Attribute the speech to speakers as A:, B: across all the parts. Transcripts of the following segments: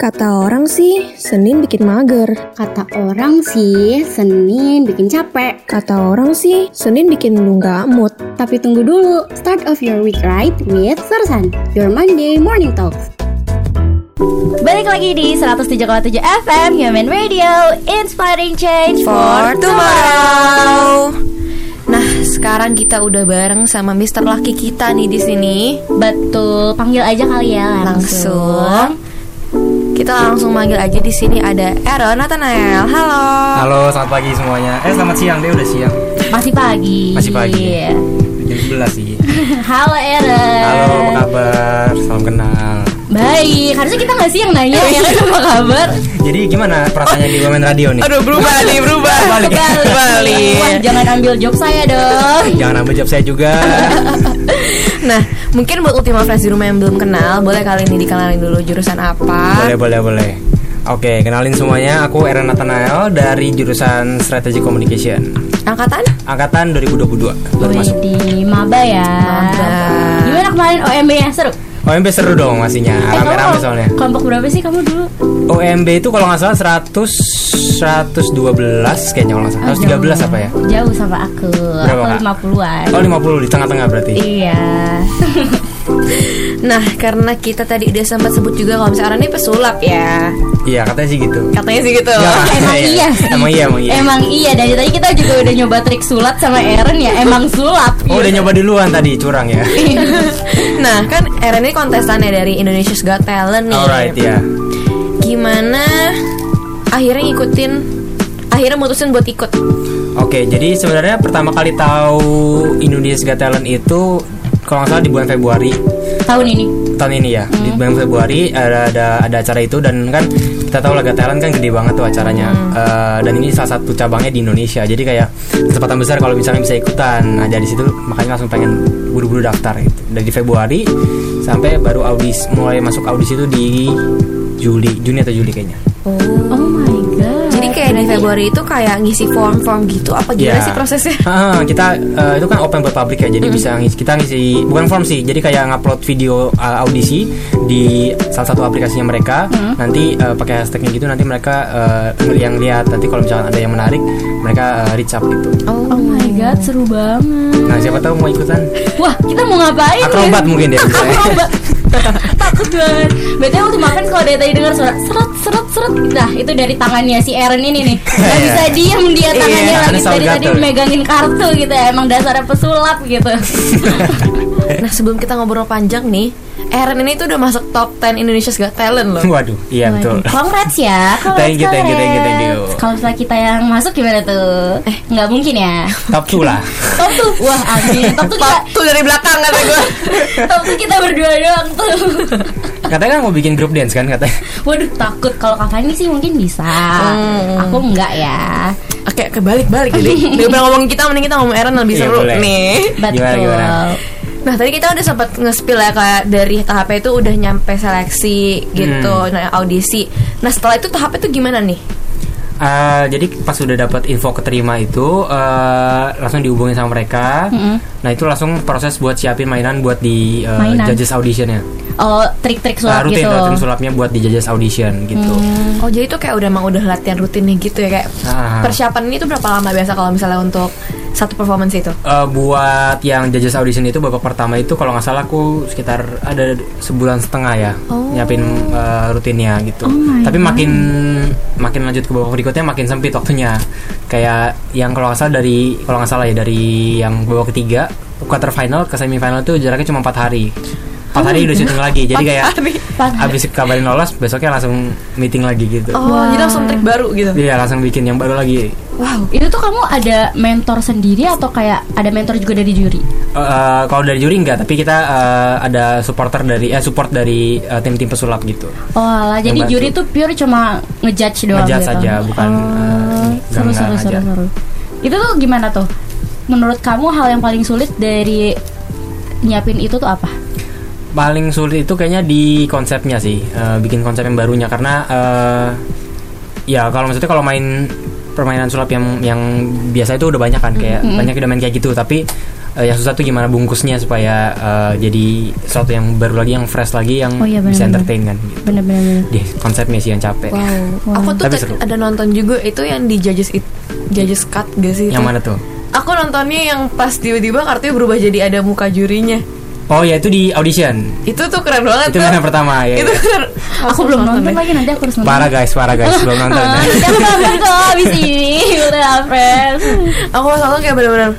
A: Kata orang sih, Senin bikin mager.
B: Kata orang sih, Senin bikin capek.
A: Kata orang sih, Senin bikin lu nggak mood.
B: Tapi tunggu dulu, start of your week right with Sersan, your Monday morning talks.
C: Balik lagi di 107,7 FM Human Radio Inspiring Change for Tomorrow.
D: Nah, sekarang kita udah bareng sama Mister Laki kita nih di sini.
C: Betul, panggil aja kali ya langsung.
D: Langsung. Kita langsung manggil aja di sini ada Aaron Nathanael. Halo.
E: Halo, selamat pagi semuanya. Eh, selamat siang deh, udah siang.
C: Masih pagi.
E: Masih pagi. Jam 11 sih.
C: Halo Eren.
E: Halo, apa kabar? Salam kenal.
C: Baik, harusnya kita nggak sih yang nanya ya, Eren apa kabar?
E: Jadi gimana perasaannya di Women Radio nih?
D: Aduh, berubah nih, berubah.
E: Balik.
C: Wah, jangan ambil job saya dong.
E: Jangan ambil job saya juga.
D: Nah, mungkin buat Ultima Friends di rumah yang belum kenal, boleh kali ini dikenalin dulu jurusan apa.
E: boleh, boleh, boleh. Oke, kenalin semuanya. Aku Aaron Nathanael dari jurusan Strategic Communication.
D: Angkatan?
E: Angkatan 2022 baru masuk.
C: Di maba ya.
D: Maba.
C: Gimana kemarin OMB ya seru?
E: OMB seru dong pastinya.
C: Eh, kamu
E: Rame-rame
C: kom-
E: soalnya.
C: Kelompok berapa sih kamu dulu?
E: OMB itu kalau nggak salah 100 112 kayaknya kalau nggak salah. 113 apa ya?
C: Jauh sama aku.
E: Berapa, Kak?
C: aku 50-an.
E: Oh 50 di tengah-tengah berarti.
C: Iya.
D: Nah, karena kita tadi udah sempat sebut juga kalau misalnya Aaron ini pesulap ya.
E: Iya katanya sih gitu.
D: Katanya sih gitu.
E: Ya,
C: Emang iya sih.
E: Emang iya, emang iya.
C: Emang iya dari tadi kita juga udah nyoba trik sulap sama Eren ya. Emang sulap.
E: Oh udah
C: gitu.
E: nyoba duluan tadi curang ya.
C: Iya.
D: Nah, kan Aaron ini kontestannya dari Indonesia's Got Talent nih.
E: Alright ya.
D: gimana akhirnya ngikutin akhirnya mutusin buat ikut
E: Oke jadi sebenarnya pertama kali tahu Indonesia's Got Talent itu kalau nggak salah di bulan Februari
C: Tahun ini.
E: tahun ini ya di bulan Februari ada, ada ada acara itu dan kan kita tahu laga talent kan gede banget tuh acaranya Eh, dan ini salah satu cabangnya di Indonesia jadi kayak kesempatan besar kalau misalnya bisa ikutan nah dari situ makanya langsung pengen buru-buru daftar gitu dari Februari sampai baru audis mulai masuk audisi itu di Juli Juni atau Juli kayaknya
C: Oh my god.
D: jadi kayak di Februari itu kayak ngisi form-form gitu apa gimana
E: Ya.
D: sih prosesnya
E: Ah, kita eh, itu kan open buat publik ya, jadi bisa ngisi, kita ngisi bukan form sih, jadi kayak ngupload video eh, audisi di salah satu aplikasinya mereka. Nanti eh, pakai hashtagnya gitu, nanti mereka eh, yang lihat. Nanti kalau misalnya ada yang menarik, mereka eh, reach up gitu.
C: Oh my god, seru banget.
E: Nah siapa tahu mau ikutan
C: Wah, kita mau ngapain? ya?
E: akrobat mungkin dia bisa. ya.
C: Akrobat. Takut banget. Berarti waktu makan kalau dari tadi dengar suara seret seret seret. Nah, itu dari tangannya si Aaron ini nih. Gak
E: Iya.
C: bisa diem dia tangannya
E: Iya,
C: lagi
E: ada
C: dari tadi
E: salgator.
C: megangin kartu gitu. ya. Emang dasarnya pesulap gitu.
D: nah sebelum kita ngobrol panjang nih Aaron ini tuh udah masuk top 10 Indonesia's Got Talent loh
E: Waduh, iya betul.
C: Congrats ya. congrats,
E: Thank you, thank you, thank you, thank you.
C: congrats. Kalau misalnya kita yang masuk gimana tuh? Eh, nggak mungkin ya.
E: Top 2 lah.
C: Top tuh, wah amin. Top tuh kita,
D: tuh dari belakang kata gue
C: top tuh kita berdua doang tuh.
E: Katanya kan mau bikin grup dance kan katanya.
C: Waduh takut kalau Kak ini sih mungkin bisa.
E: Hmm.
C: Aku nggak ya.
D: oke kebalik-balik jadi daripada ngomongin kita mending kita ngomong Aaron lebih
E: Iya,
D: seru
E: boleh.
D: nih
C: Betul.
E: Gimana, gimana?
D: Nah tadi kita udah sempat nge-spill ya kayak dari tahap itu udah nyampe seleksi gitu,
E: Hmm.
D: nah audisi. Nah setelah itu tahap itu gimana nih?
E: Eh, jadi pas sudah dapat info keterima itu eh, langsung dihubungin sama mereka. Nah itu langsung proses buat siapin mainan buat di eh,
C: Mainan.
E: judges auditionnya.
C: Oh, trik-trik
E: Eh,
C: sulap
E: rutin
C: gitu. Hmm.
E: rutin sulapnya buat di judges audition gitu.
D: Oh jadi itu kayak udah emang udah latihan rutinnya gitu ya kayak
E: Ah.
D: persiapan ini tuh berapa lama biasa kalau misalnya untuk satu performance itu?
E: Eh, buat yang judges audition itu babak pertama itu kalau nggak salah aku sekitar ada sebulan setengah ya nyiapin eh, rutinnya gitu. Tapi makin makin lanjut ke babak berikutnya makin sempit waktunya. Kayak yang kalau nggak salah dari kalau nggak salah ya dari yang babak ketiga quarter final ke semifinal itu jaraknya cuma empat hari. Empat hari udah syuting lagi. Jadi kayak
C: Pas-
E: habis kabarin lolos besoknya langsung meeting lagi gitu.
D: Oh jadi langsung trik baru gitu.
E: Iya langsung bikin yang baru lagi.
C: Wow, itu tuh kamu ada mentor sendiri atau kayak ada mentor juga dari juri?
E: Eh, kalau dari juri enggak, tapi kita eh, ada supporter dari eh support dari eh, tim-tim pesulap gitu.
C: Oh, alah, jadi
E: Yang bantu.
C: juri tuh pure cuma ngejudge doang
E: Ngejudge
C: gitu.
E: aja, bukan,
C: Oh,
E: eh, ini,
C: seru
E: enggak
C: seru seru
E: ngajar.
C: seru. Itu tuh gimana tuh? Menurut kamu hal yang paling sulit dari nyiapin itu tuh apa?
E: Paling sulit itu kayaknya di konsepnya sih, eh, bikin konsep yang barunya karena eh, ya kalau maksudnya kalau main permainan sulap yang yang biasa itu udah banyak kan kayak banyak udah main kayak gitu, tapi eh, yang susah tuh gimana bungkusnya supaya eh, jadi sesuatu yang baru lagi yang fresh lagi yang
C: Oh iya,
E: bisa
C: benar-benar.
E: entertain kan gitu.
C: Bener-bener
E: Deh, konsepnya sih yang capek.
D: Aku tuh
E: Tapi
D: tadi
E: seru.
D: ada nonton juga itu yang di judges it, judges cut gak sih? itu?
E: Yang mana tuh?
D: Aku nontonnya yang pas tiba-tiba kartunya berubah jadi ada muka jurinya.
E: Oh ya itu di audition.
D: Itu tuh keren banget
E: Itu
D: tuh.
E: kan yang pertama ya.
D: Itu
E: ya.
D: keren. Aku belum nonton. ya.
B: lagi nanti aku harus nonton.
E: Parah guys, parah guys, belum nonton. ya.
F: Siapa kabar kok abis ini udah friends
D: Aku pas nonton kayak bener-bener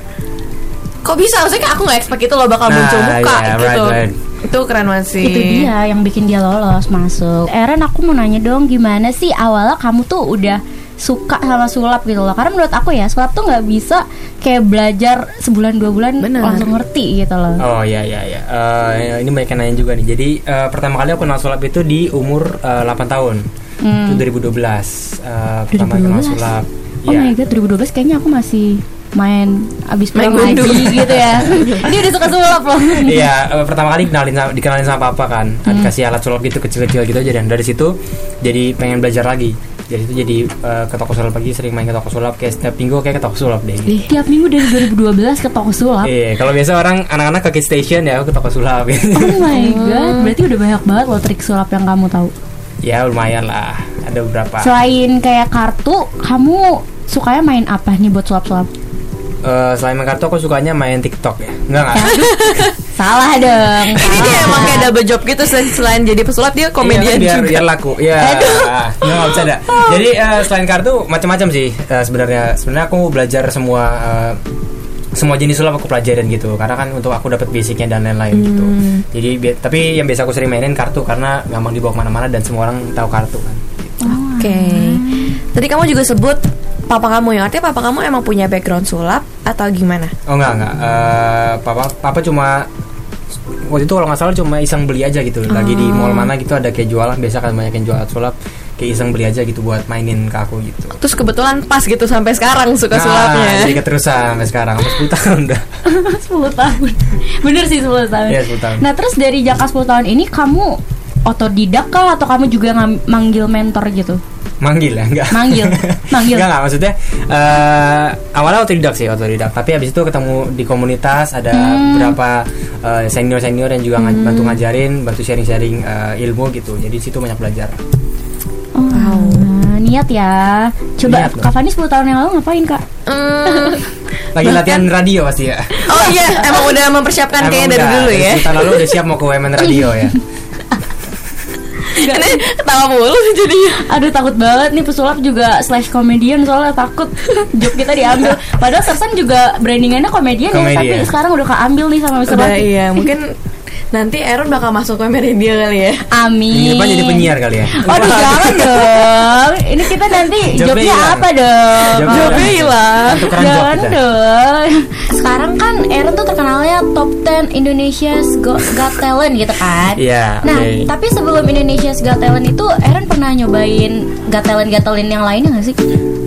D: Kok bisa? Maksudnya kayak aku gak expect itu loh bakal
E: Nah,
D: muncul muka
E: iya,
D: gitu
E: right, right.
D: Itu keren banget sih
C: Itu dia yang bikin dia lolos masuk Eren aku mau nanya dong gimana sih awalnya kamu tuh udah suka sama sulap gitu loh Karena menurut aku ya sulap tuh nggak bisa kayak belajar sebulan dua bulan
D: Bener.
C: langsung ngerti gitu loh
E: Oh ya ya ya. Eh, ini banyak yang nanya juga nih. Jadi eh, pertama kali aku kenal sulap itu di umur eh, 8 tahun.
C: Hmm.
E: Itu 2012. eh, pertama kali kenal
C: 2012?
E: sulap.
C: Oh
E: Iya.
C: my god 2012 kayaknya aku masih main abis
D: Main
C: pulang
D: gundu.
C: ngaji gitu ya Dia udah suka sulap loh
E: Iya, eh, pertama kali kenalin sama, dikenalin sama papa kan.
C: Hmm.
E: Dikasih alat sulap gitu kecil-kecil gitu aja dan dari situ jadi pengen belajar lagi. Jadi itu jadi eh, ke toko sulap lagi sering main ke toko sulap kayak setiap minggu kayak ke toko sulap deh. gitu.
C: Tiap minggu dari 2012 ke toko sulap
E: Iya, kalau biasa orang anak-anak ke kids station ya aku ke toko sulap. gitu.
C: Oh my god Berarti udah banyak banget loh trik sulap yang kamu tahu
E: ya lumayan lah, ada beberapa.
C: Selain kayak kartu Kamu sukanya main apa nih buat sulap-sulap?
E: Eh, selain main kartu aku sukanya main TikTok ya. Enggak enggak.
C: Salah dong
E: Iya.
D: Ini dia emang kayak double job gitu selain, selain jadi pesulap dia komedian
E: Iya, biar,
D: juga Oh.
E: biar laku ya nggak nggak bercanda jadi eh, selain kartu macam-macam sih eh, sebenarnya sebenarnya aku belajar semua eh, semua jenis sulap aku pelajarin gitu karena kan untuk aku dapat basicnya dan lain-lain gitu
D: Hmm.
E: jadi bi- tapi yang biasa aku sering mainin kartu karena gampang dibawa kemana-mana dan semua orang tahu kartu kan
D: Oke. Tadi kamu juga sebut papa kamu ya. Artinya papa kamu emang punya background sulap atau gimana?
E: oh enggak enggak Eh, papa papa cuma waktu itu kalau nggak salah cuma iseng beli aja gitu lagi di mall mana gitu ada kayak jualan biasa kan banyak yang jual alat sulap kayak iseng beli aja gitu buat mainin ke aku gitu
D: Terus kebetulan pas gitu sampai sekarang suka
E: Nah, Jadi
D: sulapnya.
E: keterusan sampai sekarang Hampir 10 tahun udah
C: 10 tahun Bener sih 10 tahun
E: Iya, 10 tahun.
C: Nah terus dari jangka 10 tahun ini Kamu otodidak kah? Atau kamu juga ngam- manggil mentor gitu?
E: Manggil ya enggak
C: Manggil Manggil
E: Enggak, enggak maksudnya eh, Awalnya otodidak sih otodidak Tapi habis itu ketemu di komunitas Ada beberapa eh, senior-senior yang juga ngaj- bantu ngajarin Bantu sharing-sharing eh, ilmu gitu Jadi situ banyak belajar
C: Oh, nah, Niat ya Coba
E: Niat loh.
C: Kak Fani 10 tahun yang lalu ngapain kak?
D: Hmm.
E: Lagi latihan radio pasti ya
D: Oh iya, emang udah mempersiapkan
E: Emang
D: kayaknya dari
E: udah,
D: dulu ya.
E: sepuluh Tahun lalu udah siap mau ke Women Radio ya
D: Ini ketawa mulu jadi.
C: Iya. Aduh takut banget nih pesulap juga slash komedian soalnya takut job kita diambil Padahal Sersan juga brandingannya komedian, ya
E: Komedian.
C: Tapi sekarang udah keambil nih sama pesulap
D: Udah iya, mungkin nanti Aaron bakal masuk ke media kali ya.
E: Minggu
C: Amin
E: depan Iya, jadi penyiar kali ya
D: Oh.
C: Aduh jangan dong Ini kita nanti
E: Jobnya
C: jobnya
E: hilang.
C: apa dong
E: Jobnya
D: Jobnya
E: hilang.
D: hilang.
E: Tukeran job
C: Jangan
E: kita.
C: dong Sekarang kan Aaron tuh terkenalnya top 10 Indonesia's Go- Got Talent gitu kan
E: Iya
C: Nah,
E: oke.
C: tapi sebelum Indonesia's Got Talent itu Aaron pernah nyobain Got Talent-Got Talent yang lainnya gak sih?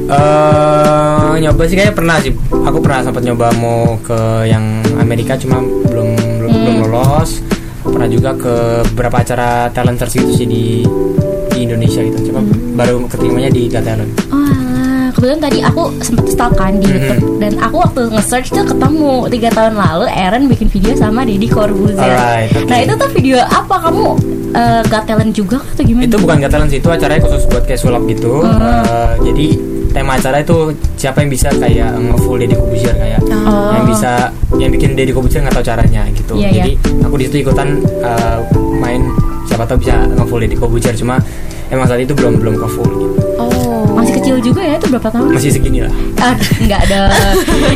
E: eh nyoba sih kayaknya pernah sih. Aku pernah sempat nyoba mau ke yang Amerika cuma belum belum,
D: Hmm.
E: belum lolos. Pernah juga ke beberapa acara talent search gitu sih di di Indonesia gitu. Cuma
D: Hmm.
E: baru keterimanya di Got Talent.
C: Oh, alah. kebetulan tadi aku sempet stalk kan di YouTube dan aku waktu nge-search tuh ketemu tiga tahun lalu Aaron bikin video sama Deddy Corbuzier.
E: Alright, oke.
C: Nah itu tuh video apa kamu eh, Got Talent juga kah atau gimana?
E: Itu bukan Got Talent sih, itu acaranya khusus buat kayak
C: Oh.
E: sulap gitu. Eh, jadi tema acara itu siapa yang bisa kayak nge-full Deddy Corbuzier kayak
C: Oh.
E: yang bisa yang bikin Deddy Corbuzier nggak tahu caranya gitu.
C: Iya,
E: Jadi aku di situ ikutan eh, main siapa tahu bisa nge-full Deddy Corbuzier cuma emang saat itu belum belum ke full gitu.
D: Oh.
C: Masih kecil juga ya itu berapa tahun?
E: Masih segini lah.
C: Ah, enggak ada.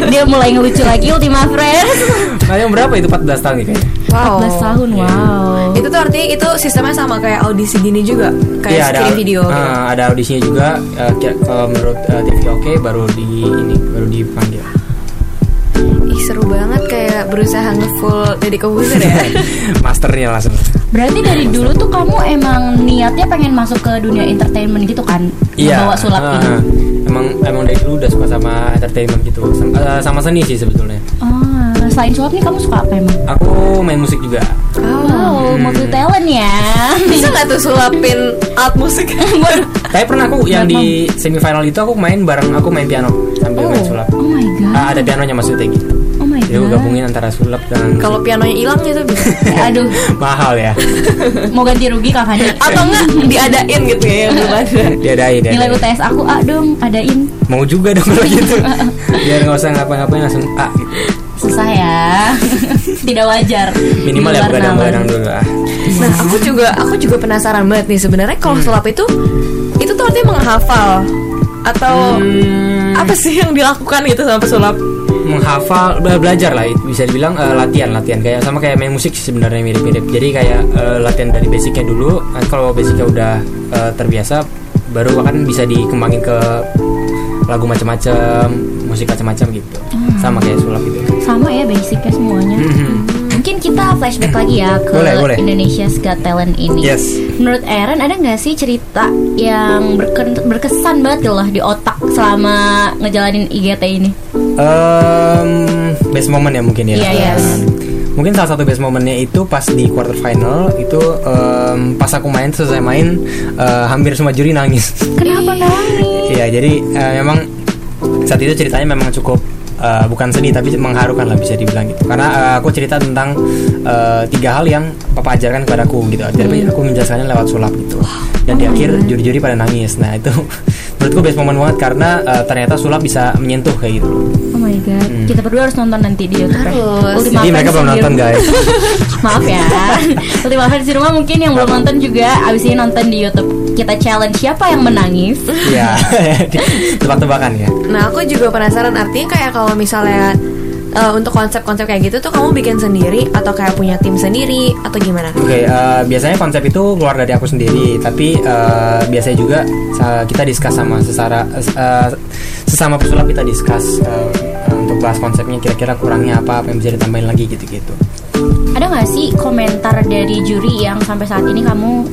C: Dia mulai ngelucu lagi Ultima Friends.
E: Nah, yang berapa itu 14 tahun gitu ya?
D: Oh,
C: 14 tahun,
E: Iya.
C: wow.
D: Itu tuh artinya itu sistemnya sama kayak audisi gini juga, kayak
E: Iya,
D: kirim video. gitu.
E: eh, ada audisinya juga eh, kira- kalau menurut eh, TV Oke baru di ini baru dipanggil.
D: Ih seru banget kayak berusaha nge-full jadi komposer ya.
E: Masternya langsung.
C: Berarti dari dulu tuh kamu emang niatnya pengen masuk ke dunia entertainment gitu kan? Bawa sulap gitu?
E: eh,
C: ini.
E: eh. Emang emang dari dulu udah suka sama entertainment gitu. Sam- eh, sama seni sih sebetulnya.
C: Oh, selain sulap nih kamu suka apa emang?
E: Aku main musik juga.
D: Hmm.
C: Wow, multi talent ya.
D: Oh. Bisa nggak tuh sulapin alat musik?
E: Tapi pernah aku yang di semifinal itu aku main bareng aku main piano sambil main sulap.
C: Oh my god.
E: Ah, ada pianonya maksudnya gitu.
C: Oh my ya
E: Dia
C: gimana?
E: gabungin antara sulap dan
D: Kalau pianonya hilang itu bisa.
C: Aduh,
E: mahal ya.
C: mau ganti rugi Kak Fani.
D: Atau enggak diadain gitu ya yang belum ada.
E: Diadain,
C: Nilai
E: diadain.
C: UTS aku A dong, adain.
E: Mau juga dong kalau gitu. Biar nggak usah ngapa-ngapain langsung A gitu.
C: Susah ya. Tidak wajar.
E: Minimal
C: Di
E: ya
C: luar
E: begadang-begadang
C: nalar.
E: dulu ah. lah.
D: Nah, aku juga aku juga penasaran banget nih sebenarnya kalau sulap itu itu tuh artinya menghafal atau apa sih yang dilakukan gitu sama pesulap?
E: menghafal be- belajar lah bisa dibilang eh, latihan latihan kayak sama kayak main musik sih sebenarnya mirip mirip jadi kayak eh, latihan dari basicnya dulu eh, kalau basicnya udah eh, terbiasa baru akan bisa dikembangin ke lagu macam-macam musik macam-macam gitu sama kayak sulap gitu
C: Sama ya basicnya semuanya. Mungkin kita flashback lagi ya ke
E: Mhm. Boleh, boleh.
C: Indonesia's Got Talent ini.
E: yes
C: Menurut Aaron ada nggak sih cerita yang berken- berkesan banget gitu loh di otak selama ngejalanin IGT ini?
E: Em, best moment ya mungkin ya.
C: Iya, yes.
E: Em, Mungkin salah satu best momennya itu pas di quarter final itu em, pas aku main selesai main eh, hampir semua juri nangis.
C: Kenapa nangis?
E: Iya, jadi eh, memang saat itu ceritanya memang cukup eh, bukan sedih tapi mengharukan lah bisa dibilang gitu. Karena eh, aku cerita tentang eh, tiga hal yang papa ajarkan kepadaku gitu. Tapi
C: Hmm.
E: aku menjelaskannya lewat sulap gitu. Dan di akhir juri-juri pada nangis. Nah, itu menurutku best moment banget karena eh, ternyata sulap bisa menyentuh kayak gitu.
C: Oh my god, kita berdua harus nonton nanti di YouTube. ya.
D: Harus.
C: Ultima
E: Hmm. Jadi mereka
C: Friends
E: belum
C: di
E: nonton
C: rumah.
E: guys.
C: Maaf ya. Ultima Friends di rumah mungkin yang belum nonton juga abis ini nonton di YouTube. Kita challenge siapa yang menangis.
E: Iya. Tebak-tebakan ya.
D: Nah, aku juga penasaran artinya kayak kalau misalnya eh, untuk konsep-konsep kayak gitu tuh kamu bikin sendiri atau kayak punya tim sendiri atau gimana?
E: Oke, eh, biasanya konsep itu keluar dari aku sendiri, tapi eh, biasanya juga sa- kita diskus sama sesara eh, sesama pesulap kita diskus eh, eh, untuk bahas konsepnya kira-kira kurangnya apa, apa yang bisa ditambahin lagi gitu-gitu.
C: Ada nggak sih komentar dari juri yang sampai saat ini kamu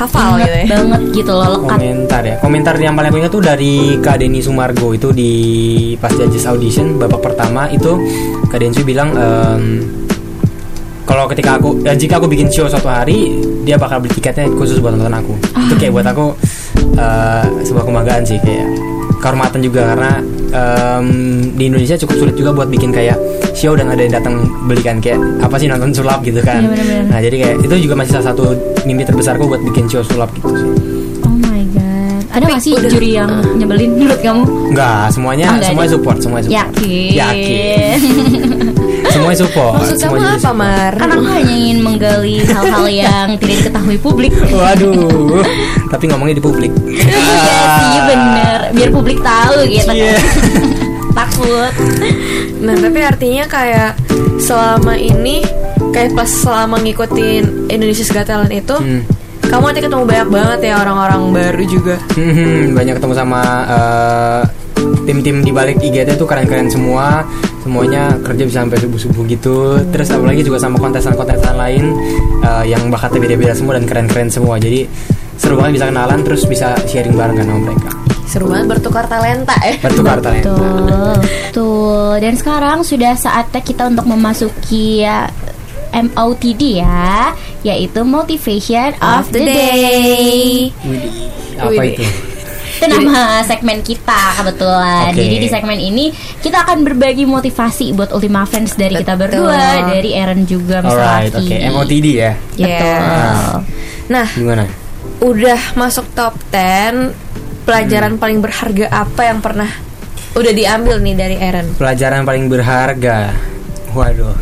D: Hafal gitu
C: inget
D: ya.
C: banget gitu loh lekat?
E: Komentar ya, komentar yang paling aku ingat tuh dari Kak Denny Sumargo itu di pas judges audition babak pertama itu Kak Denny bilang ehm, kalau ketika aku eh, jika aku bikin show suatu hari dia bakal beli tiketnya khusus buat nonton aku. Itu kayak buat aku eh, sebuah kebanggaan sih kayak kehormatan juga karena em, di Indonesia cukup sulit juga buat bikin kayak show dan ada yang datang belikan kayak apa sih nonton sulap gitu kan.
C: Iya, bener-bener.
E: Nah jadi kayak itu juga masih salah satu mimpi terbesarku buat bikin show sulap gitu sih.
C: Oh my god. Ada nggak sih
D: udah.
C: juri yang nyebelin menurut kamu?
E: Enggak, semuanya
C: Oh, enggak
E: semuanya support, semuanya support.
C: Yakin.
E: Yakin. semuanya support.
D: Maksud kamu
E: semuanya
D: apa,
E: support.
D: Mar?
C: Karena Kan aku hanya ingin menggali hal-hal yang tidak diketahui publik.
E: Waduh. Tapi ngomongnya di publik.
C: Iya sih bener. Biar publik tahu gitu.
E: Iya.
C: Takut.
D: Nah, tapi artinya kayak selama ini kayak pas selama ngikutin Indonesia's Got Talent itu
E: Hmm.
D: kamu nanti ketemu banyak banget ya orang-orang baru juga.
E: Hmm, banyak ketemu sama eh, tim-tim di balik IGT itu keren-keren semua. Semuanya kerja bisa sampai subuh-subuh gitu. Terus apalagi juga sama kontesan-kontesan lain eh, yang bakatnya beda-beda semua dan keren-keren semua. Jadi seru banget bisa kenalan terus bisa sharing bareng kan sama mereka.
D: Seru banget bertukar talenta ya.
E: Bertukar talenta.
C: Betul. Betul. Dan sekarang sudah saatnya kita untuk memasuki ya, MOTD ya, yaitu motivation of, the, day.
E: Widih, Apa
D: Widih.
E: itu?
C: Itu nama segmen kita kebetulan.
E: Oke.
C: Jadi di segmen ini kita akan berbagi motivasi buat Ultima Friends dari kita berdua, dari Aaron juga Miss
E: Alright, oke.
C: Laki.
E: MOTD ya.
C: Betul.
D: Yeah. Nah,
E: Gimana?
D: udah masuk top 10 pelajaran paling berharga apa yang pernah udah diambil nih dari Aaron?
E: Pelajaran paling berharga. Waduh.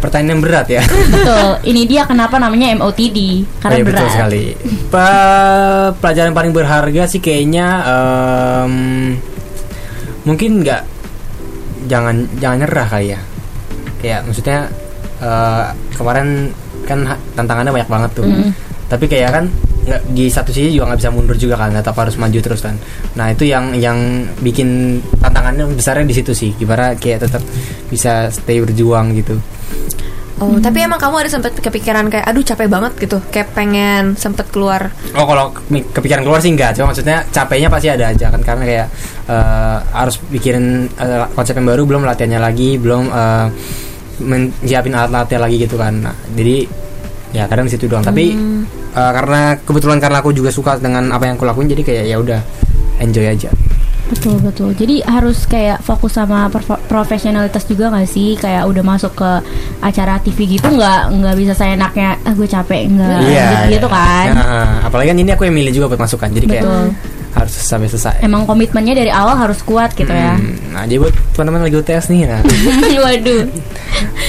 E: Pertanyaan yang berat ya.
C: Betul. Ini dia kenapa namanya MOTD karena
E: Oh iya,
C: berat.
E: betul sekali. Pa- pelajaran paling berharga sih kayaknya em, mungkin nggak jangan jangan nyerah kali ya. Kayak maksudnya eh, kemarin kan ha- tantangannya banyak banget tuh. Tapi kayak kan nggak di satu sisi juga nggak bisa mundur juga kan, tetap harus maju terus kan. Nah itu yang yang bikin tantangannya besarnya di situ sih. Gimana kayak tetap bisa stay berjuang gitu.
D: Oh, tapi emang kamu ada sempet kepikiran kayak aduh capek banget gitu, kayak pengen sempet keluar.
E: Oh kalau ke- kepikiran keluar sih enggak Cuma maksudnya capeknya pasti ada aja kan Karena kayak eh, harus pikirin eh, konsep yang baru Belum latihannya lagi Belum eh, menyiapin alat latihan lagi gitu kan Nah, Jadi ya kadang di situ doang Tapi
C: Hmm.
E: eh, karena kebetulan karena aku juga suka dengan apa yang aku lakuin Jadi kayak ya udah enjoy aja
C: Betul betul. Jadi harus kayak fokus sama perf- profesionalitas juga nggak sih? Kayak udah masuk ke acara TV gitu nggak nggak bisa saya enaknya ah gue capek nggak gitu, gitu kan?
E: Iya, Nah, apalagi kan ini aku yang milih juga buat masukan. Jadi kayak
C: Betul.
E: harus sampai selesai.
C: Emang komitmennya dari awal harus kuat gitu ya.
E: Hmm, nah, jadi buat teman-teman lagi UTS nih. Nah.
C: Waduh.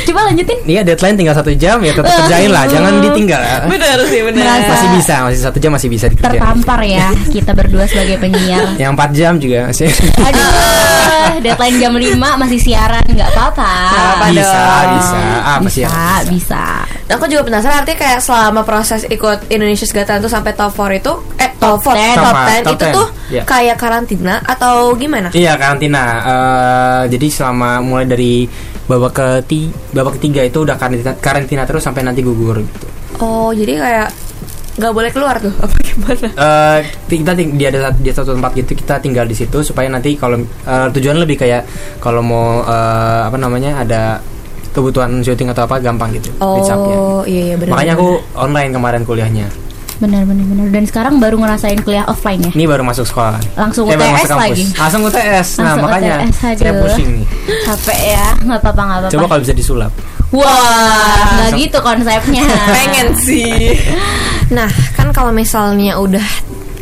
C: Coba lanjutin.
E: Iya, deadline tinggal satu jam ya tetap kerjain lah, jangan ditinggal.
D: Benar sih benar.
C: Merasa
E: Masih bisa, masih satu jam masih bisa dikerjain.
C: tertampar ya kita berdua sebagai penyiar.
E: Yang 4 jam juga masih
C: Aduh, deadline jam 5 masih siaran nggak apa-apa.
D: apa-apa.
E: bisa,
D: dong.
E: bisa. Ah, apa sih?
C: Bisa,
E: ya?
C: bisa.
D: Nah, aku juga penasaran artinya kayak selama proses ikut Indonesia's Got Talent tuh sampai top 4 itu eh
C: Top
D: top
C: 10.
D: 4 top
E: Sama,
D: 10
E: top
D: itu
E: 10,
D: tuh
E: iya.
D: kayak karantina atau gimana?
E: Iya karantina. Eh, jadi selama mulai dari babak keti babak ketiga itu udah karantina, karantina terus sampai nanti gugur gitu.
D: Oh, jadi kayak nggak boleh keluar tuh apa gimana?
E: Eh, kita ting- dia ada di satu tempat gitu kita tinggal di situ supaya nanti kalau eh, tujuan lebih kayak kalau mau eh, apa namanya ada kebutuhan syuting atau apa gampang gitu dicapnya.
D: Oh, iya iya benar.
E: Makanya aku online kemarin kuliahnya.
C: Benar benar benar. Dan sekarang baru ngerasain kuliah offline ya.
E: Ini baru masuk sekolah.
C: Langsung
E: Eh, baru
C: UTS
E: masuk kampus.
C: lagi.
E: Langsung UTS. Nah,
C: Langsung
E: makanya
C: UTS,
E: saya
C: Eh, aduh.
E: pusing nih.
C: Capek ya, nggak apa-apa nggak apa-apa.
E: Coba kalau bisa disulap.
C: Wah, nggak
E: Langsung-
C: gitu konsepnya.
D: pengen sih.
G: Nah, kan kalau misalnya udah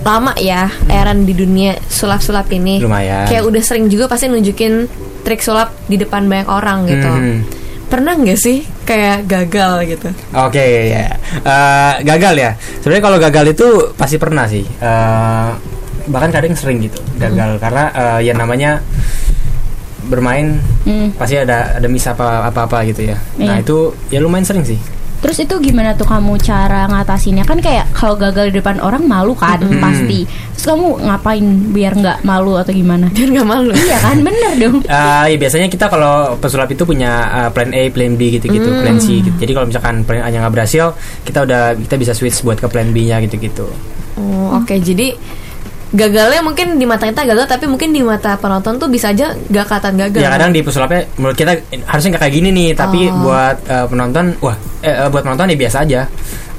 G: lama ya Eren di dunia sulap-sulap ini.
E: Hmm. Lumayan.
G: Kayak udah sering juga pasti nunjukin trik sulap di depan banyak orang gitu.
E: Mhm.
G: Pernah nggak sih kayak gagal gitu?
E: Oke ya Eh, gagal ya. Sebenarnya kalau gagal itu pasti pernah sih. Eh, bahkan kadang sering gitu gagal karena eh, ya namanya bermain
C: Hmm.
E: pasti ada ada miss apa apa apa gitu ya. Nah
C: Iya.
E: itu ya lumayan sering sih.
C: Terus itu gimana tuh kamu cara ngatasinnya? Kan kayak kalau gagal di depan orang malu kan
E: Hmm.
C: pasti. Terus kamu ngapain biar nggak malu atau gimana?
G: Biar nggak malu.
C: Iya kan, bener dong.
E: Eh, ya biasanya kita kalau pesulap itu punya eh, plan A, plan B gitu-gitu,
C: Hmm.
E: plan C. Gitu. Jadi kalau misalkan plan A-nya nggak berhasil, kita udah kita bisa switch buat ke plan B-nya gitu-gitu.
G: Oh, oke. Jadi gagalnya mungkin di mata kita gagal tapi mungkin di mata penonton tuh bisa aja gak kelihatan gagal.
E: Ya kadang di pesulapnya menurut kita eh, harusnya nggak kayak gini nih, tapi
C: Oh.
E: buat eh, penonton, wah, eh, eh, buat penonton ya biasa aja.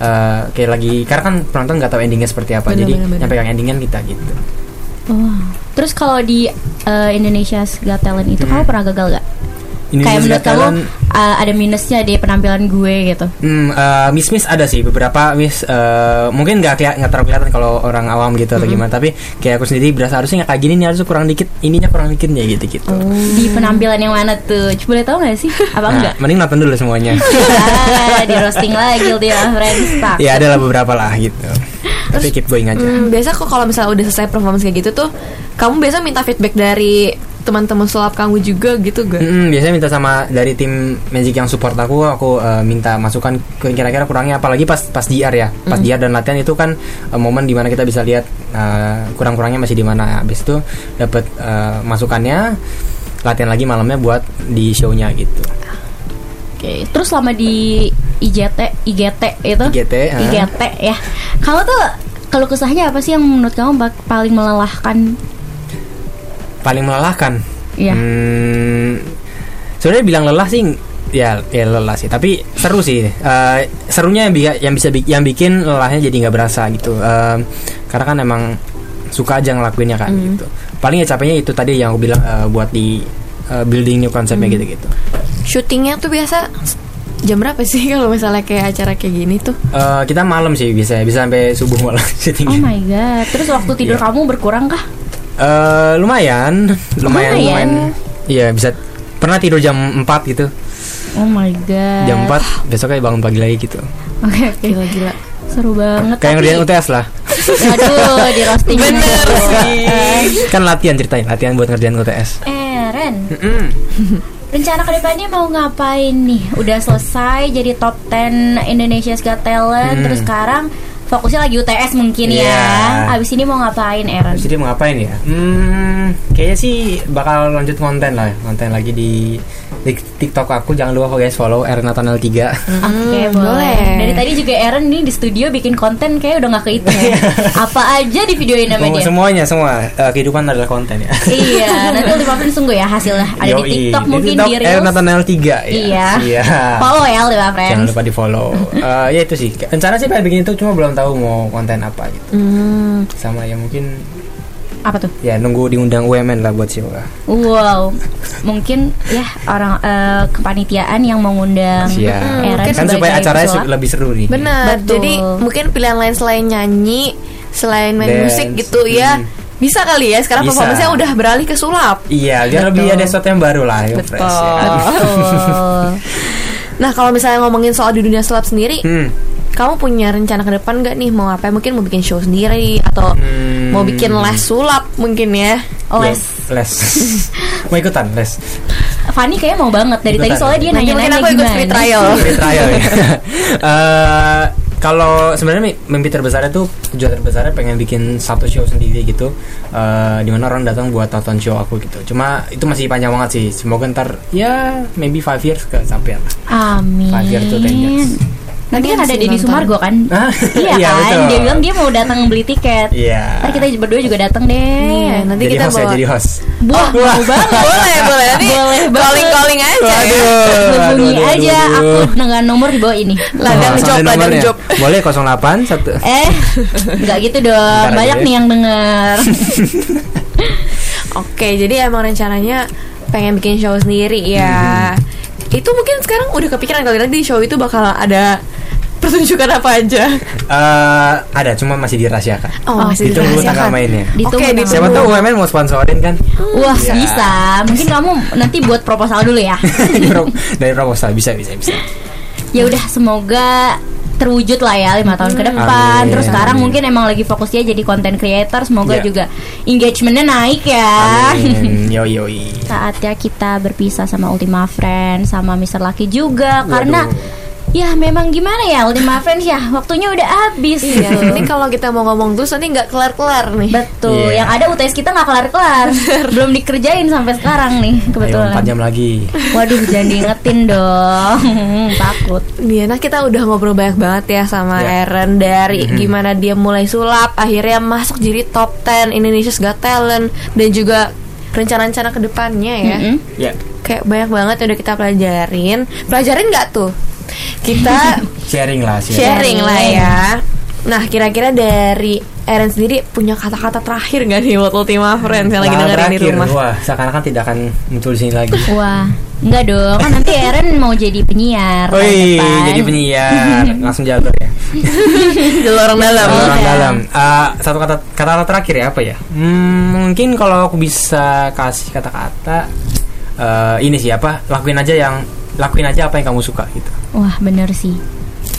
E: Eh, kayak lagi karena kan penonton nggak tahu endingnya seperti apa, jadi yang pegang endingan kita gitu.
C: Wah. Terus kalau di eh, Indonesia's Got Talent itu kamu pernah gagal gak? kayak
E: Indonesia's
C: menurut
E: Hmm. Got
C: kamu
E: Talent-
C: eh, ada minusnya di penampilan gue gitu.
E: Hmm, eh, miss-miss ada sih beberapa miss eh, mungkin nggak kayak nggak terlalu kelihatan kalau orang awam gitu atau gimana tapi kayak aku sendiri berasa harusnya nggak kayak gini nih harusnya kurang dikit ininya kurang dikit nih gitu gitu.
C: Di penampilan yang mana tuh? Coba boleh tahu gak sih? Apa enggak?
E: Nah, mending nonton dulu semuanya.
C: Ah, di roasting lagi guilty of friends tak.
E: ya ada lah beberapa lah gitu. Tapi keep going aja.
G: Hmm, biasa kok kalau misalnya udah selesai performance kayak gitu tuh, kamu biasa minta feedback dari teman-teman sulap kamu juga gitu gak?
D: Iya.
E: Mm-mm, biasanya minta sama dari tim Magic yang support aku, aku eh, minta masukan ke- kira-kira kurangnya apalagi pas pas DR ya, pas DR dan latihan itu kan eh, momen dimana kita bisa lihat eh, kurang-kurangnya masih di mana. Habis itu dapat eh, masukannya, latihan lagi malamnya buat di show-nya gitu.
C: Oke, terus selama di IJT, IGT itu,
E: IGT, ah.
C: IGT ya. Kamu tuh kalau kesahnya apa sih yang menurut kamu bak- paling melelahkan?
E: Paling melelahkan.
C: Iya.
E: Hmm, sebenarnya bilang lelah sih ya, ya lelah sih tapi seru sih Eh, serunya yang, bi- yang bisa bi- yang bikin lelahnya jadi nggak berasa gitu Eh, karena kan emang suka aja ngelakuinnya kan
C: Hmm.
E: gitu paling ya capeknya itu tadi yang aku bilang eh, buat di eh, building new konsepnya
C: Hmm.
E: gitu gitu
G: Syutingnya tuh biasa jam berapa sih kalau misalnya kayak acara kayak gini tuh?
E: Eh, kita malam sih biasanya bisa sampai subuh malam
C: Oh
E: syutingnya
C: my god. Terus
E: Iya.
C: waktu tidur kamu berkurang kah?
E: Eh, lumayan lumayan
C: Lumayan.
E: lumayan iya bisa pernah tidur jam 4 gitu
C: Oh my god.
E: jam 4 besoknya bangun pagi lagi gitu
C: Oke, oke.
G: Gila-gila.
C: Seru banget.
E: kayak
C: Nah, tapi-
E: ngerjain UTS lah
C: Aduh, di roasting. Bener sih.
E: kan latihan ceritain latihan buat ngerjain UTS
C: Eh, Ren. Rencana kedepannya mau ngapain nih? Udah selesai jadi top 10 Indonesia's Got Talent
E: Hmm.
C: Terus sekarang fokusnya lagi UTS mungkin
E: Iya.
C: ya Abis ini mau ngapain Eren?
E: jadi mau ngapain ya hmm, kayaknya sih bakal lanjut konten lah konten lagi di, di TikTok aku jangan lupa guys follow Ernatanel 3
C: Oke Hmm, boleh Dari tadi juga Eren nih di studio bikin konten kayak udah gak kehitung ya. Apa aja di videoin sama dia
E: semuanya Iya. semua eh, kehidupan adalah konten ya
C: Iya nanti ultimatum sungguh ya hasilnya Ada di
E: Yoi.
C: TikTok mungkin
E: TikTok
C: di Reels
E: Ernatanel 3 ya.
C: Iya
E: Iya.
C: Follow ya Ultima
E: jangan
C: Friends
E: lupa di follow Eh, ya itu sih Hmm, rencana sih pengen bikin itu cuma belum tahu mau konten apa gitu sama ya mungkin
C: apa tuh?
E: Ya nunggu diundang UMN lah buat Sheila.
C: Wow, mungkin ya orang eh, kepanitiaan yang mengundang
E: Iya.
C: Eren
E: Kan
C: sebagai
E: supaya acaranya
C: pesulap.
E: su- lebih seru nih.
D: Benar.
C: Betul.
D: Jadi mungkin pilihan lain selain nyanyi, selain main
E: Dance.
D: musik gitu ya.
E: Hmm.
D: Bisa kali ya sekarang
E: Bisa.
D: performance-nya udah beralih ke sulap.
E: Iya, biar lebih ada sesuatu yang baru lah, yang fresh. Ya.
D: Oh.
C: Betul.
D: Nah, kalau misalnya ngomongin soal di dunia sulap sendiri,
E: Hmm.
D: kamu punya rencana ke depan nggak nih mau apa? Mungkin mau bikin show sendiri atau
E: Hmm.
D: mau bikin les sulap mungkin ya?
C: Les.
E: Ya, les. mau ikutan les.
C: Fanny kayaknya mau banget dari tadi
E: Ikutan.
C: soalnya dia
D: Nanti mungkin
C: nanya-nanya
D: aku ikut
C: gimana.
D: free trial.
E: Free trial ya. Eh, kalau sebenarnya mi- mimpi terbesarnya tuh tujuan terbesarnya pengen bikin satu show sendiri gitu eh, di dimana orang datang buat tonton show aku gitu cuma itu masih panjang banget sih semoga ntar ya maybe five years ke sampai lah
C: Amin.
E: Five years to ten years.
C: Nanti kan ada
D: Nanti
C: Deddy
D: nonton.
C: Sumargo kan?
E: Ah,
C: iya
E: iya,
C: kan?
E: betul.
C: Dia bilang dia mau datang beli tiket.
E: iya
C: Ntar kita berdua juga datang deh.
D: Iya, nanti
E: jadi
D: kita
E: host
D: bawa.
E: ya jadi host
C: Wah, mau banget.
D: boleh, boleh. Nanti
C: Boleh banget.
D: calling calling aja. ya.
E: Aduh,
C: Hubungi
E: aduh, aduh,
C: aja
E: aduh.
C: aku dengan nomor di bawah ini.
D: Ladang
E: Langsung
D: job,
E: ada
D: ladang
E: nomornya.
D: job.
E: Boleh 08 satu.
C: Eh, nggak gitu dong.
E: Bentar
C: Banyak
E: aja ya.
C: nih yang denger.
D: Oke, jadi emang rencananya pengen bikin show sendiri
E: Hmm.
D: ya. Itu mungkin sekarang udah kepikiran kali nanti di show itu bakal ada pertunjukan apa aja.
E: Eh, ada cuma masih dirahasiakan.
D: Oh, masih
E: Ditunggu
D: dirahasiakan.
E: tanggal mainnya.
C: Ditunggu
D: Oke,
C: tanggal
D: ditunggu.
E: Siapa tahu UMN mau sponsorin kan?
C: Wah, bisa. Mungkin kamu nanti buat proposal dulu ya.
E: Dari pro- Dari proposal bisa bisa bisa.
C: ya udah, semoga terwujud lah ya lima tahun ke depan.
E: Hmm. Amin.
C: Terus sekarang
E: Amin.
C: mungkin emang lagi fokus dia jadi content creator. Semoga
E: Ya.
C: juga engagementnya naik
D: Ah.
C: ya.
E: Amin. Yo yoi.
C: Saatnya kita berpisah sama Ultima Friends, sama Mr. Lucky juga karena ya memang gimana ya Ultima Friends ya waktunya udah habis.
D: Iya,
C: gitu.
D: nanti kalau kita mau ngomong terus nanti nggak kelar-kelar nih.
C: Betul,
E: Iya.
C: yang ada UTS kita nggak kelar-kelar Belum dikerjain sampai sekarang nih
E: Ayo
C: kebetulan
E: 4 jam lagi.
C: Waduh, jangan diingetin dong Takut
D: Iya, nah kita udah ngobrol banyak banget ya sama
E: Ya.
D: Eren dari gimana dia mulai sulap, akhirnya masuk jadi top 10 Indonesia's Got Talent dan juga rencana-rencana kedepannya ya.
C: Mm-mm.
E: Ya.
D: Kayak banyak banget yang udah kita pelajarin. Pelajarin nggak tuh? Kita
E: Sharing lah sih.
D: sharing lah ya. Nah, kira-kira dari Eren sendiri punya kata-kata terakhir nggak nih buat Ultima Friends yang lagi dengerin di rumah?
E: Nah, Wah, seakan-akan tidak akan muncul di sini lagi.
C: Wah, enggak dong Kan nanti Eren mau jadi penyiar tahun
E: Wih,
C: depan.
E: jadi penyiar langsung jalur ya.
D: Jalur orang dalam.
E: Orang
C: Iya.
E: dalam. Eh, satu kata kata terakhir ya apa ya? Hmm, mungkin kalau aku bisa kasih kata-kata eh, ini sih apa? Lakuin aja yang lakuin aja apa yang kamu suka gitu.
C: Wah, bener sih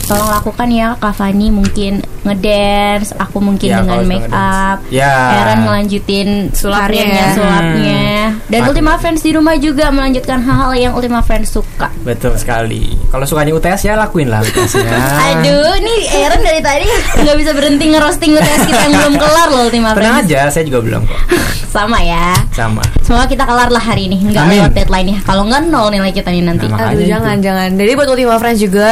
C: Tolong lakukan ya Kak Fani mungkin ngedance Aku mungkin
E: Ya,
C: dengan
E: kalau
C: make
E: ngedance.
C: up
E: Ya.
C: Eren melanjutin
D: Sulapnya
C: karirnya,
D: ya.
C: sulapnya Dan
E: Mantap.
C: Ultima Friends di rumah juga melanjutkan hal-hal yang Ultima Friends suka
E: Betul sekali. Kalau sukanya UTS ya lakuin lah UTS-nya.
C: Aduh, nih Aaron dari tadi nggak bisa berhenti ngerosting UTS kita yang belum kelar loh tim
E: Tenang aja, saya juga belum kok.
C: Sama ya.
E: Sama.
C: Semoga kita kelar lah hari ini, nggak
E: Amin.
C: lewat deadline ya. Kalau nggak nol nilai kita nih nanti.
E: Nah,
D: Aduh
E: Makanya
D: jangan
E: itu.
D: jangan. Jadi buat Ultima Friends juga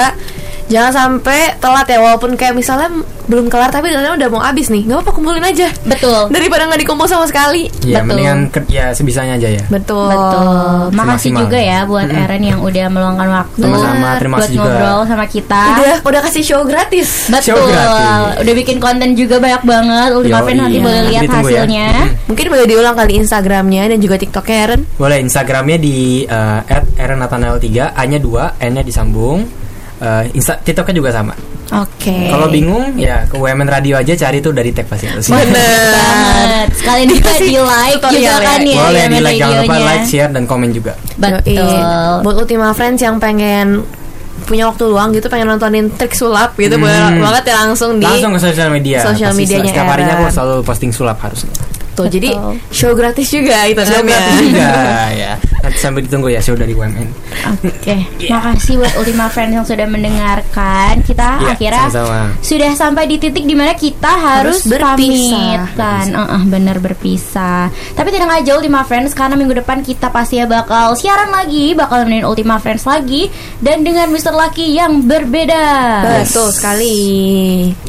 D: jangan sampai telat ya walaupun kayak misalnya belum kelar tapi deadline udah mau habis nih. Gak apa kumpulin aja.
C: Betul.
D: Daripada nggak dikumpul sama sekali.
E: Ya,
C: Betul.
E: mendingan ke- ya sebisanya aja ya.
D: Betul.
C: Betul. Oh, Makasih
E: Semaksimal.
C: juga ya buat Aaron yang udah meluangkan waktu
E: Sama-sama, terima
C: buat
E: kasih juga. Iya.
C: ngobrol sama kita.
D: Udah udah kasih show gratis.
E: Show
C: Betul.
E: gratis.
C: Udah bikin konten juga banyak banget. Ultima
E: Yoi.
C: Friends nanti
E: Iya.
C: boleh lihat
E: Ditunggu ya.
C: hasilnya.
E: Mm-mm.
D: Mungkin boleh diulang kali Instagramnya dan juga TikToknya Eren.
E: Boleh Instagramnya di eh, erenathanael 3 A-nya 2, N-nya disambung. Eh, Insta TikToknya juga sama.
D: Eh.
C: Oke.
E: Kalau bingung ya ke WMN Radio aja cari tuh dari Tech pasti. ada sih.
C: Banget. Sekalian juga di like juga
D: tutorial ya.
C: kan ya.
E: Boleh
C: ya,
E: di like jangan lupa
C: radionya.
E: like, share dan komen juga.
C: Betul.
D: Yoi. Buat Ultima Friends yang pengen punya waktu luang gitu pengen nontonin trik sulap gitu
E: Hmm.
D: boleh banget ya langsung di
E: Langsung ke sosial media.
D: sosial
E: Pasti
D: medianya
E: Setiap harinya aku
D: Eren.
E: selalu posting sulap harusnya.
D: tuh jadi
C: Betul.
D: show gratis juga itu
E: Show gratis juga ya. Nanti sambil ditunggu ya show dari WMN.
C: Oke,
D: Iya.
C: makasih buat Ultima Friends yang sudah mendengarkan. Kita
E: Iya,
C: akhirnya
E: sama-sama.
C: sudah sampai di titik dimana kita harus,
D: Harus berpisah.
C: pamit kan, Heeh, bener berpisah. Tapi tenang aja Ultima Friends karena minggu depan kita pasti ya bakal siaran lagi, bakal nemenin Ultima Friends lagi dan dengan Mr. Lucky yang berbeda.
D: Betul sekali.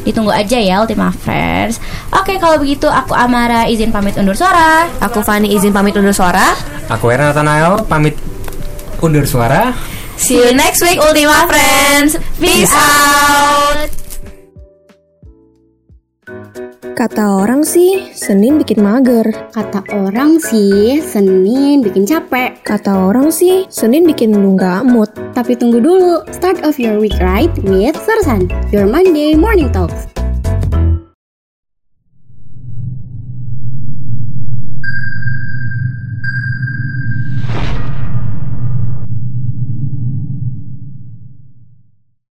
C: Ditunggu aja ya Ultima Friends. Oke, kalau begitu aku Amara izin pamit undur suara.
D: Aku Fani izin pamit undur suara.
E: Aku Eren Nathanael pamit undur suara.
D: See you next week Ultima Friends. Peace out.
H: Kata orang sih, Senin bikin mager.
B: Kata orang sih, Senin bikin capek.
H: Kata orang sih, Senin bikin lu nggak mood.
B: Tapi tunggu dulu, start of your week right with Sersan, your Monday morning talks.